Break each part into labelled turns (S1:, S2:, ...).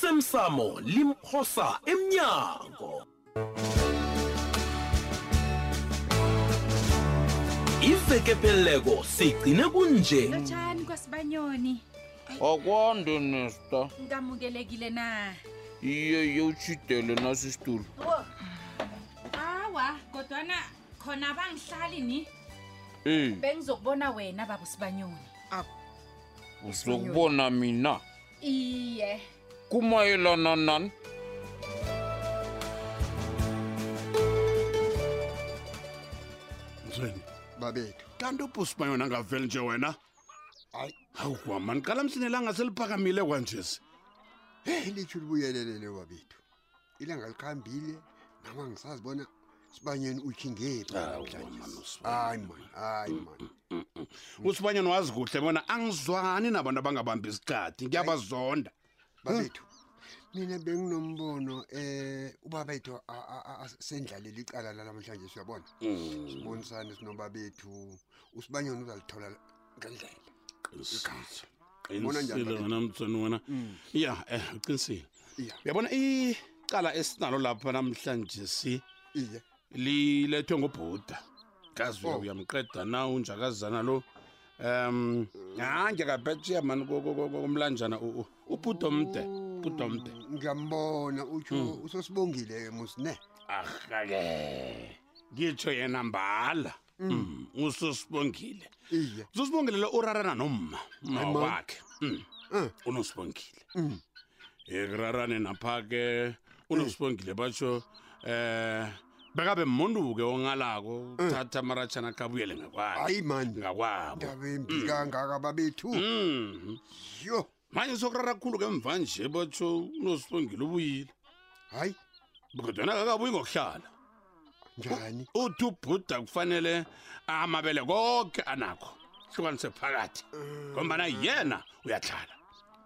S1: osemsamo limphosa emnyango iveke pheleleko sigcine kunje
S2: lotshani kwasibanyoni
S3: akwande nesta
S2: ngamukelekile na
S3: iye yewutshidele nasi isitulo
S2: awa kodwana khona bangihlali ni
S3: ey
S2: bengizokubona wena baba sibanyoni
S3: uzokubona mina
S2: iye
S3: kumayelana nani
S4: mzweni
S5: babethu
S4: kanti ubhusima yona ngaveli nje wena
S5: hayi
S4: hawu kwamani kalamsinelanga seliphakamile kwanjesi
S5: ilitsho libuyelelele babethu ilanga likhambile nama ngisazi bona sibanyeni utshingephi namhlanje hayi mani hayi mani
S4: usibanyana wazi kuhle bona angizwani nabantu abangabambi isikhathi ngiyabazonda
S5: babethu mina benginombono eh ubabethu a- a- a- asendlalela icala la namhlanje siyabona sibonisane sinobabethu usibanyoni uzalithola ngendlela
S4: Qinisile.
S5: Ubona njani,
S4: qinisile
S5: Babethu?
S4: wena mtsweni wena ya eh uqinisile
S5: iya
S4: uyabona icala esinalo lapha namhlanje si
S5: iye
S4: lilethwe ngobhuda kazi uya-
S5: Oh.
S4: uyamqeda na unjakazana lo um hange kabhetshiya mani ko- ko- ko- komlanjana u- u- ubhuda omde bhuda omde
S5: Mm, ngiyambona utsho usosibongile musine
S4: ahake ngitsho yena mbala Mm, ususibongile
S5: iye
S4: ususibongile lo urarana nomma
S5: Hayi
S4: umma
S5: ma.
S4: wakhe Mm,
S5: Eh.
S4: unosibongile
S5: Mm.
S4: ekurarane napha-ke unosibongile batsho um bekabe mmundu-ke ongalako uthatha amaratshana akhe abuyele ngakwakhe
S5: hayi mani
S4: ngakwabo
S5: ndaba embi kangaka babethu
S4: Mm.
S5: yho
S4: manje sokurara khulu ke mva nje batsho unosibongile ubuyile
S5: hayi
S4: kodwana kakabuyi ngokuhlala
S5: njani
S4: uthi ubhuda kufanele amabele konke anakho hlukanise phakathi ngombana yena uyahlala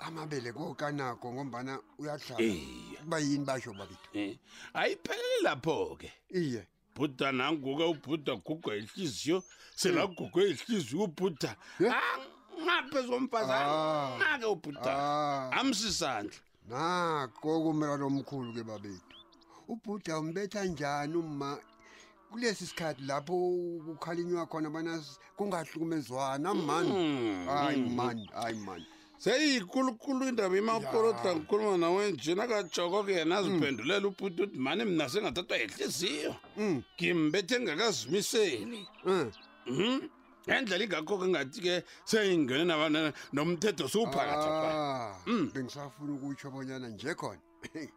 S5: amabele kokanako ngombana uyahlala
S4: iye
S5: kuba yini basho babethu
S4: Eh, ayipheleli lapho-ke
S5: iye
S4: bhuda nanguke ubhuda gugwa ihliziyo selagugwe ihliziyo ubhuda ngaphe
S5: Ah.
S4: zomfazane nake ubhuda
S5: ah
S4: amsisandla
S5: nako kumraro omkhulu ke babethu ubhuda umbetha njani uma kulesi sikhathi lapho kukhalinywa khona bana kungahlukumezwana
S4: Mm.
S5: mani
S4: Hmm.
S5: hayi mani hayi mani
S4: seyiyikulukulu indaba imakorota
S5: Ya. Hmm.
S4: ngikhuluma nawe nje nakajoko ke yena aziphendulela ubhuda uthi mani mna sengathathwa ihliziyo
S5: Mm,
S4: ngimbethe ngakazimiseli
S5: eh,
S4: Mhm. ngendlela ingakho ke ngathi-ke seyingene naba- nomthetho siwuphakathi
S5: ah
S4: Mm.
S5: bengisafuna ukutsho bonyana nje khona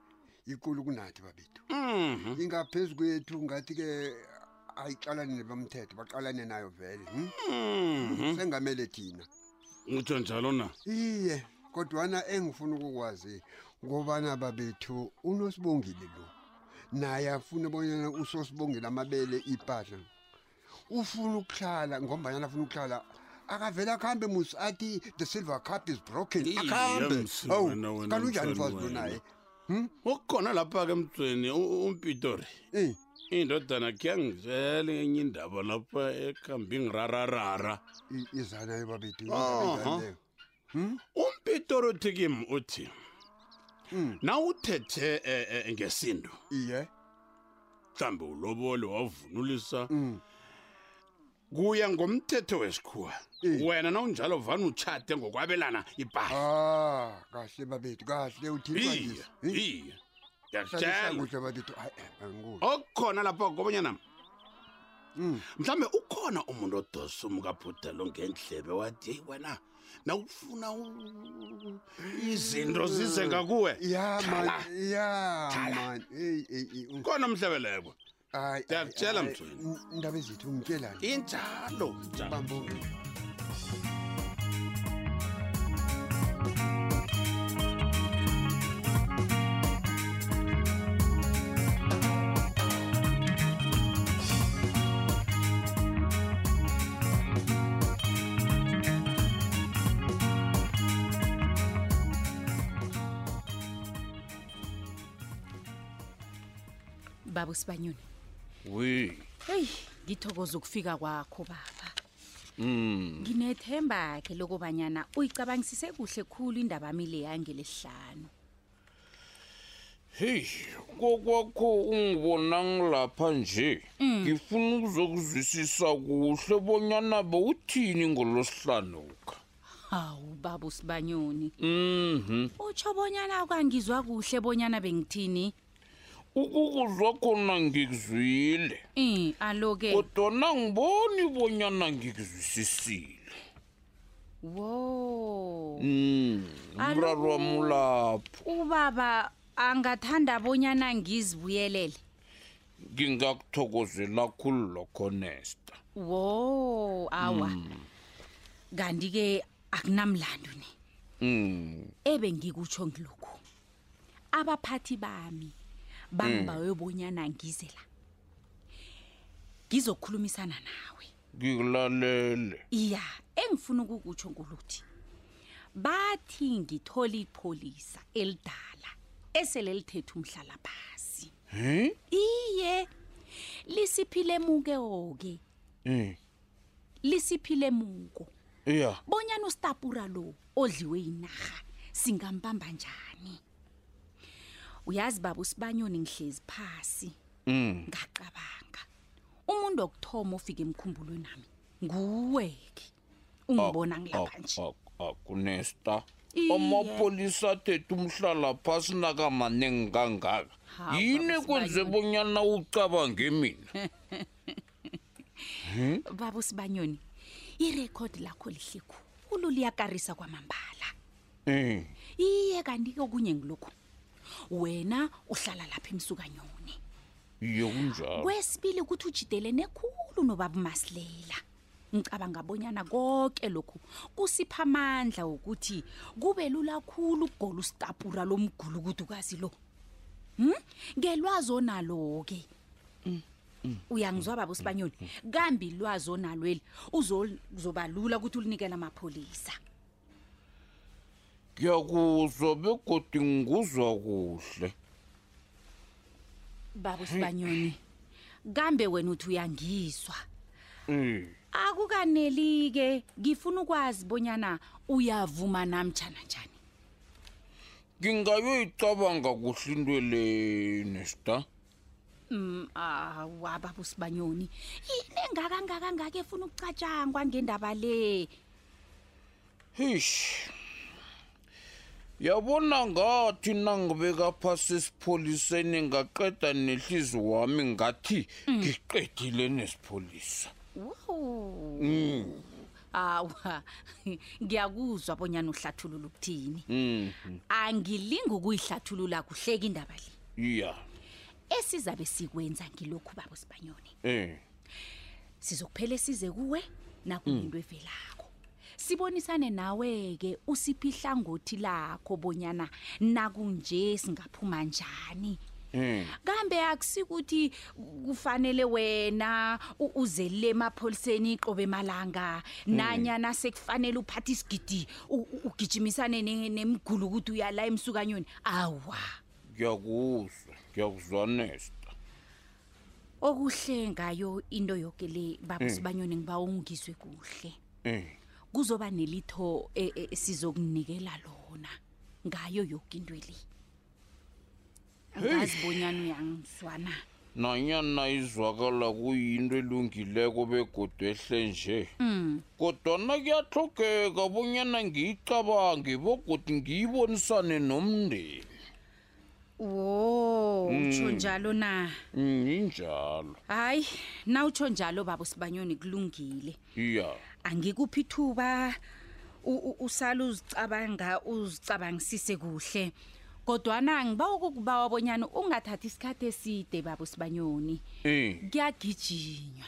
S5: ikulu kunathi babethu
S4: Mhm.
S5: ingaphezu kwethu ngathi-ke ayixalane nebamthetho baqalane nayo vele hm?
S4: Mhm.
S5: sengamele thina
S4: ngitsho njalo na
S5: iye kodwana engifuna ukukwazi ngobana babethu unosibongile lo naye afuna bonyana usosibongile amabele ipahla ufuna ukuhlala ngombanyana afuna ukuhlala akavele akuhambe musi athi the silver cup is broken
S4: Iye,
S5: akuhambe
S4: msi,
S5: awu
S4: wena, wena,
S5: kanunjani
S4: msana
S5: fazi lo
S4: wena.
S5: naye
S4: okukhona lapha-ke emtsweni u- umpitori
S5: Eh,
S4: indodana kuyangizela enye indaba lapha ekhambing rararara
S5: i- izana yo babethu
S4: Aha.
S5: indaba enjani leyo?
S4: umpitori uthi kimi uthi
S5: Mm.
S4: na uthethe eh, eh, ngesindo
S5: iye
S4: mhlawumbe ulobole wavunulisa
S5: Mm.
S4: kuya ngomthetho wesikhuwa
S5: Eh.
S4: wena nawunjalo vane utshate ngokwabelana ipahla
S5: ah kahle babethu kahle
S4: iye
S5: uthini
S4: iye ngiyakutshela
S5: Ee. kuhle babethu hayi eh, angikuzwa.
S4: okukhona lapha kobanyana
S5: Mm.
S4: mhlawumbe ukhona umuntu odosa umkabhuda lo ngendlebe wathi heyi wena nawufuna u- izinto zize ngakuwe
S5: ya
S4: Tlala.
S5: man ya
S4: Tlala.
S5: man eyi eyi eyi,
S4: khona umhlebeleko
S5: hayi,
S4: Ngiyakutshela,
S5: hayi,
S4: Mthweni.
S5: n- ndaba ezithu ngitshelani
S4: injalo njalo
S5: bambo
S2: baba sibanyoni
S3: we
S2: heyi ngithokoza ukufika kwakho baba nginethemba ke lokubanyana uyicabangisise kuhle khulu indaba ami le yangelesihlanu
S3: heyi kokwakho ungibona ngilapha nje ngifuna ukuzokuzwisisa kuhle bonyana bewuthini ngolosihlanuka
S2: hawu baba usibanyoni
S3: mhm
S2: utsho bonyana kwangizwa kuhle bonyana bengithini
S3: ukukuzwa khona ngikuzwile
S2: um alo-ke
S3: kodwana ngiboni bonyana ngikuzwisisile
S2: wo
S3: Mm, umraro wami lapho
S2: ubaba angathanda bonyana ngizibuyelele
S3: ngingakuthokozela khulu lokho nesta
S2: wo awa kanti-ke akunamlando ne
S3: Mm,
S2: ebengikutsho ngilokhu abaphathi bami bangibawe bonyana ngize la ngizokhulumisana nawe
S3: ngikulalele
S2: iya engifuna ukukutsho ngoluthi bathi ngithole ipholisa elidala esele lithethe umhlala phasi
S3: Eh?
S2: iye lisiphile muke-ke
S3: Eh,
S2: lisiphile muko
S3: iya
S2: bonyana ustapura lo odliwe yinarha singambamba njani uyazi baba usibanyoni ngihlezi phasi
S3: Mm,
S2: ngacabanga umuntu wokuthoma ofika emkhumbulweni nami nguweke ungibona
S3: oh,
S2: ngilapha nje
S3: akunesta
S2: Iye.
S3: amapolisa athethe umhlala phasi nakamaningi kangaka
S2: Hawu,
S3: yini
S2: baba
S3: ekwenze
S2: Sibanyoni.
S3: bonyana ucabange mina
S2: baba usibanyoni irekhodi lakho lihle khulu liyakarisa kwamambala
S3: Eh,
S2: iye kanti-ke okunye ngilokhu wena uhlala lapha emsukanyoni
S3: iye kunjalo
S2: kwesibili ukuthi ujidelene khulu nobaba umasilela ngicabanga bonyana konke lokhu kusipha amandla wokuthi kube lula khulu ukugola usitapura lomgulu ukudukazi lo hmm? ngelwazi onalo-ke uyangizwa baba usibanyoni kambi ilwazi onalweli uzo- uzoba lula ukuthi ulinikele amapholisa
S3: ngiyakuzwa begodi ngikuzwa kuhle
S2: baba usibanyoni kambe wena uthi uyangizwa
S3: Eh,
S2: akukaneli-ke ngifuna ukwazi bonyana uyavuma namtshana njani
S3: ngingayoyicabanga kuhle into le nesta
S2: Mm, awa baba usibanyoni yini engakangakangaka efuna ukucatshangwa ngendaba le
S3: hish yabona ngathi nangibeka phasi esipholiseni ngaqeda nehlizi wami ngathi ngiqedile nesipholisa
S2: Wow. awa ngiyakuzwa bonyana uhlathulula ukuthini
S3: Mm,
S2: angilingi ukuyihlathulula kuhleke indaba le
S3: iya
S2: esizabe sikwenza ngilokhu baba usibanyoni
S3: eh
S2: sizokuphele size kuwe nakuyinto evelako sibonisane nawe-ke usiphi ihlangothi lakho bonyana nakunje singaphuma njani
S3: eh
S2: kambe akusikuthi kufanele wena u- uze le emapholiseni iqobe malanga nanyana sekufanele uphathe isigidi u- u- ugijimisane ne- nemgulu ukuthi uyala emsukanyoni awa
S3: ngiyakuzwa ngiyakuzwa nesta
S2: okuhle ngayo into yoke le baba sibanyoni ngiba ungizwe kuhle
S3: eh
S2: kuzoba nelitho e- e- sizokunikela lona ngayo yonke into le angazi bonyana uyangizwana
S3: nanyana izwakala kuyinto elungileko begodwe ehle nje kodwana kuyahlogeka bonyana ngiyicabange bogodi ngiyibonisane nomndeni
S2: wo utsho njalo na
S3: Mm, injalo
S2: hayi nawutsho njalo baba sibanyoni kulungile
S3: iya
S2: angikuphi ithuba u- u- usale uzicabanga uzicabangisise kuhle kodwana ngiba ukukuba wabonyana ungathathi isikhathi eside baba sibanyoni
S3: eh
S2: kuyagijinywa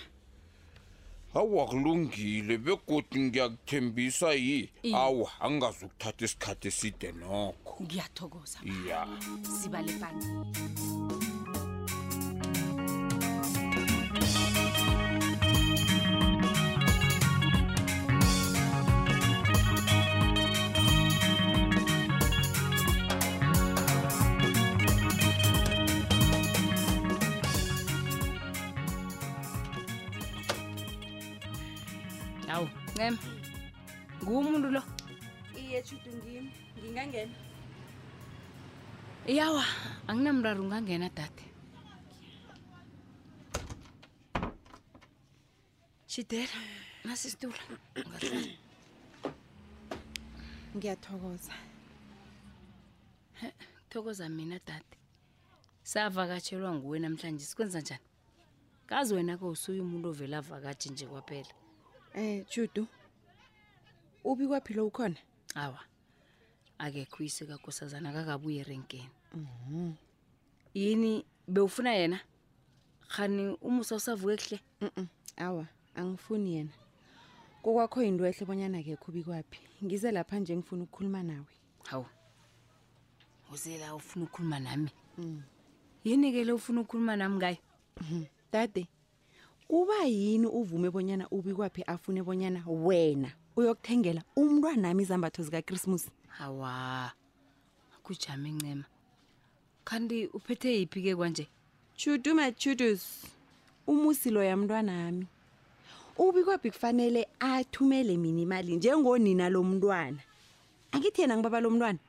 S3: awa kulungile begodi ngiyakuthembisa yi awa angingazukuthatha isikhathi eside nokho
S2: ngiyathokoza
S3: iya
S2: sibale pani hawu ncema ngumuntu lo
S6: iye tshudu ngimi ngingangena yawa anginamraro ungangena dade
S7: shidela
S6: nasi isitulo ungahlala
S7: ngiyathokoza
S6: thokoza mina dade savakatshelwa nguwe namhlanje sikwenza njani kazi wena-ke usuye umuntu ovele avakatshi nje kwaphela
S7: um judu ubi kwaphi lo ukhona
S6: awa akekho uyise kakosazana kakabuye erenkeni yini bewufuna yena khani umusa usavuke kuhle
S7: Mm-mm, awa angifuni yena kokwakho yinto ehle bonyana ke khubi kwaphi ngize lapha nje ngifuna ukukhuluma nawe
S6: hawu uzela ufuna ukukhuluma nami yini ke le ufuna ukukhuluma nami ngayo
S7: dade kuba yini uvume bonyana ubi kwaphi afune bonyana wena uyokuthengela umntwanami izambatho zikakrismus
S6: hawa kujama incema kanti uphethe yiphi ke kwanje
S7: chudu machudus umusi loya mntwanami ubi kwaphi kufanele athumele mina imali njengonina lo mntwana angithi yena ngibaba lo mntwana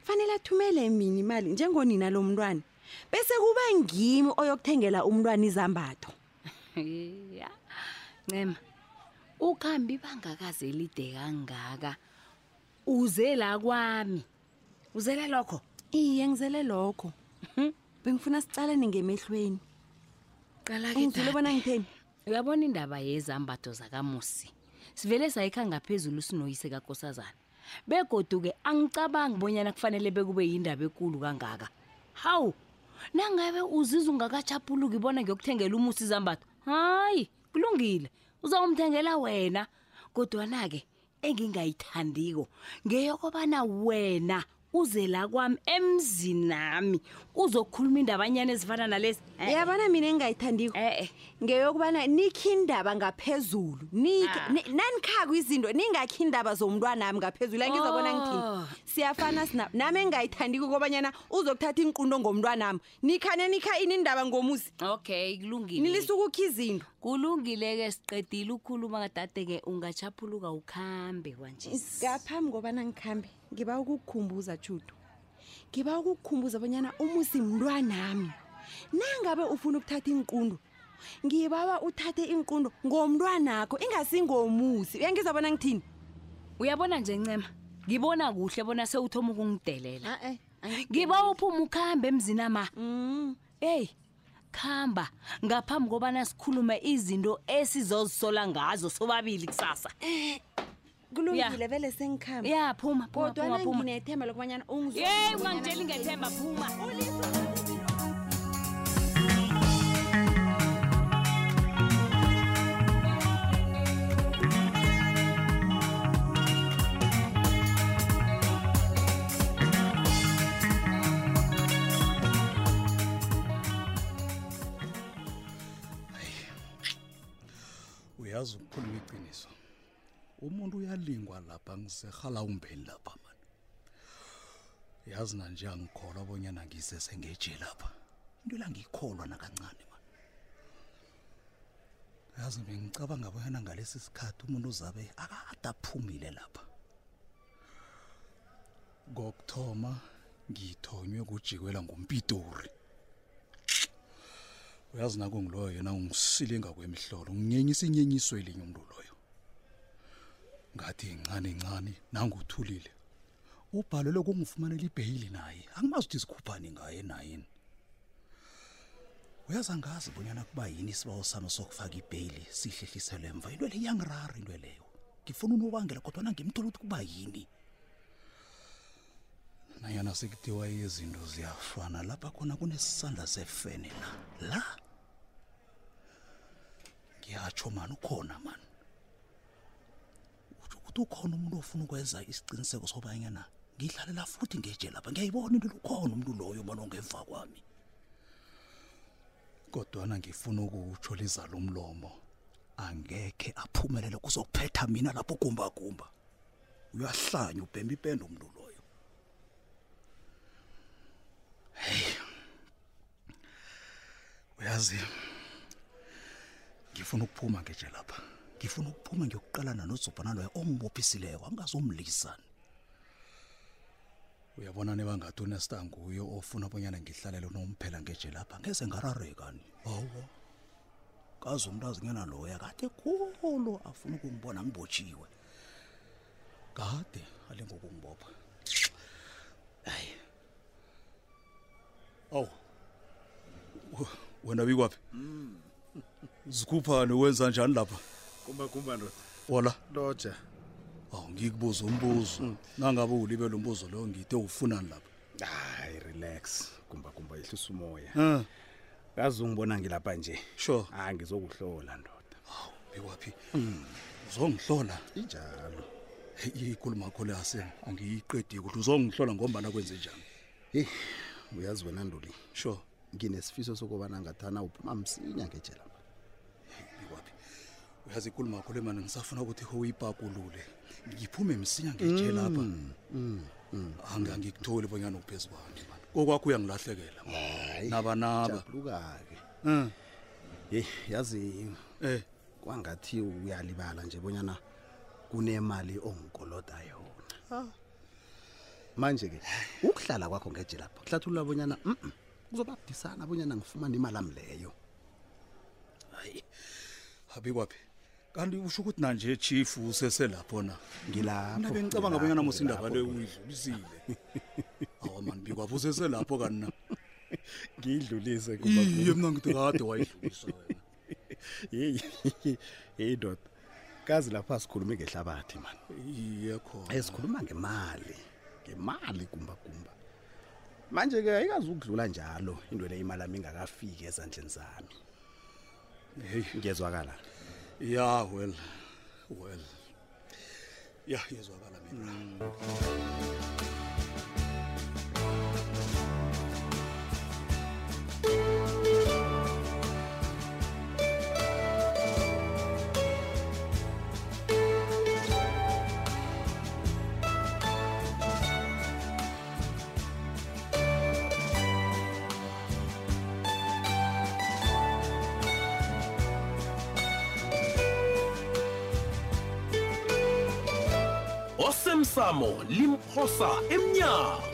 S7: kufanele athumele mina imali njengonina lo mntwana bese kuba ngimi oyokuthengela umntwana izambatho
S6: ya ncema ukuhambi bangakaze elide kangaka uze la kwami uzele lokho
S7: iye ngizele lokho Mhm. bengifuna sicalane ngemehlweni
S6: qala-ke
S7: ungizule bona ngitheni
S6: uyabona indaba yezambatho zakamusi sivele sayikha ngaphezulu sinoyise kakosazana begoduke angicabangi bonyana kufanele bekube yindaba ekulu kangaka hawu nangabe uzizwa ungakachapuluki bona ngiyokuthengela umusi izambatho hayi kulungile uzawumthengela wena kodwana-ke engingayithandiko ngeyokobana wena uzela kwami emzini nami uzokhuluma indabanyana ezifana nalezi Eh,
S7: yabona mina engingayithandiko
S6: eh, eh.
S7: ngeyokubana nikho indaba ngaphezulu Nikhe-
S6: Ah.
S7: ni- nanikhakwa izinto ningakho indaba zomntwanami ngaphezulu angizabona
S6: Oh.
S7: ngithini siyafana sina nami engingayithandiko kobanyana uzokuthatha inqundo ngomntwanami nikhane nikha ini indaba ngomuzi
S6: okay kulungile
S7: nilisukukho izinto
S6: kulungile-ke siqedile ukhuluma kadade-ke ungachaphuluka ukhambe kwanje
S7: ngaphambi kobana ngikhambe ngiba ukukukhumbuza judu ngiba ukukukhumbuza bonyana umusi mntwanami nangabe ufuna ukuthatha inqundo ngibawa uthathe inqundo ngomntwanakho ingasingomusi uyangizabona ngithini
S6: uyabona nje ncema ngibona kuhle bona sewuthoma ukungidelela
S7: a-e
S6: ngiba uphuma ukhambe emzini ama
S7: Mm.
S6: eyi khamba ngaphambi kobana sikhulume izinto esizozisola ngazo sobabili kusasa
S7: kulungile vele sengikhamba
S6: ya phuma phuma, phuma
S7: kodwana
S6: phuma
S7: nginethemba lokubanyana ungizo-
S6: yeyi ungangitsheli ngethemba phuma
S8: uyazi ukukhuluma iqiniso umuntu uyalingwa lapha ngiserhala umbeni lapha mani yazi nanje angikholwa abonyana ngise sengeje lapha into la ngiyikholwa nakancane mani yazi bengicabanga abonyana ngalesi sikhathi umuntu uzabe akade aphumile lapha kokuthoma ngithonywe kujikwela ngumpitori uyazi nako ngiloyo yena ungisile ngakwemihlolo nginyenyisa inyenyiso elinye umuntu loyo ngathi incane incane nanguthulile ubhalelwe kungifumanela ibheyili naye angimazi ukuthi sikhuphani ngaye nayini uyazi angazi bonyana kuba yini isibawo sami sokufaka ibheyili sihlehliselwe emva into le iyangirara into leyo ngifuna unobangela kodwana ngimthola ukuthi kuba yini nanyana sekuthiwa izinto ziyafana lapha khona kunesandla sefene la la ngiyatsho mani ukhona mani utsho ukuthi ukhona umuntu ofuna ukwenza isiciniseko sobanyana ngidlalela futhi ngeje lapha ngiyayibona into lukhona umuntu loyo mani ongemva kwami kodwana ngifuna ukutsho lizala umlomo angekhe aphumelele kuzokuphetha mina lapho gumbagumba uyahlanya ubhemba ipendo umuntu loyo uyazi ngifuna ukuphuma ngeje lapha ngifuna ukuphuma ngiyokuqalana nozobhana loyo ongibophisileko angazomlisani uyabona nebangathi unesitanguyo ofuna bonyana ngihlalele unomphela ngeje lapha ngeze ngararikani awa kazi umntu azinyana loya kade khulu afuna ukungibona ngibotshiwe kade alingokungibopha hayi awu w- wena bikwaphi zikhuphani wenza njani lapha
S4: kumbakumba ndoda
S8: wala
S4: loja
S8: awu ngikubuza umbuzo nangabe ulibele umbuzo loyo ngide ufunani lapha
S4: hayi relax kumbakumba ihlisa umoya
S8: um
S4: kazi ungibona ngilapha nje
S8: sure
S4: hayi ngizokuhlola ndoda
S8: bikwaphi uzongihlola
S4: injalo
S8: heyi ikhuluma kho le asem angiyiqedi ukuthi uzongihlola ngombana kwenze njani
S4: heyi uyazi wena nduli
S8: sure
S4: nginesifiso sokubana ngathana uphuma msinya ngeje lapha
S8: bikwaphi uyazi ikhuluma kho le mani ngisafuna ukuthi ho uyipakulule ngiphume msinya ngitshe lapha Angi- angikutholi bonyana uphezu kwani mani kokwakho uyangilahlekela man.
S4: hayi
S8: nabanaba
S4: jabuluka-ke
S8: um
S4: heyi yazi
S8: um
S4: kwangathi uyalibala nje bonyana kunemali ongikoloda yona manje-ke ukuhlala kwakho ngeje lapha kuhlathulula bonyana mm kuzoba budisana bonyana ngifumane imali ami leyo
S8: abikwaphi kanti usho ukuthi nanje chief useselapho na
S4: ngilapho
S8: nabe ngicabanga
S4: ngilapho,
S8: bonyana mosindaba
S4: ngilapho,
S8: le
S4: ndoda.
S8: uyidlulisile awa mani bikwapho useselapho kani na
S4: ngiyidlulise
S8: iye mna ngithi kade wayidlulisa wena
S4: yeyi ndoda kazi lapho asikhulumi ngehlabathi mani
S8: iye khona
S4: esikhuluma ngemali ngemali kumbagumba manje-ke ayikazi ukudlula njalo into le imali ami ingakafiki ezandleni zami
S8: heyi
S4: ngiyezwakala
S8: ya well well ya yezwakala mina
S9: osemsamo limphosa emnyango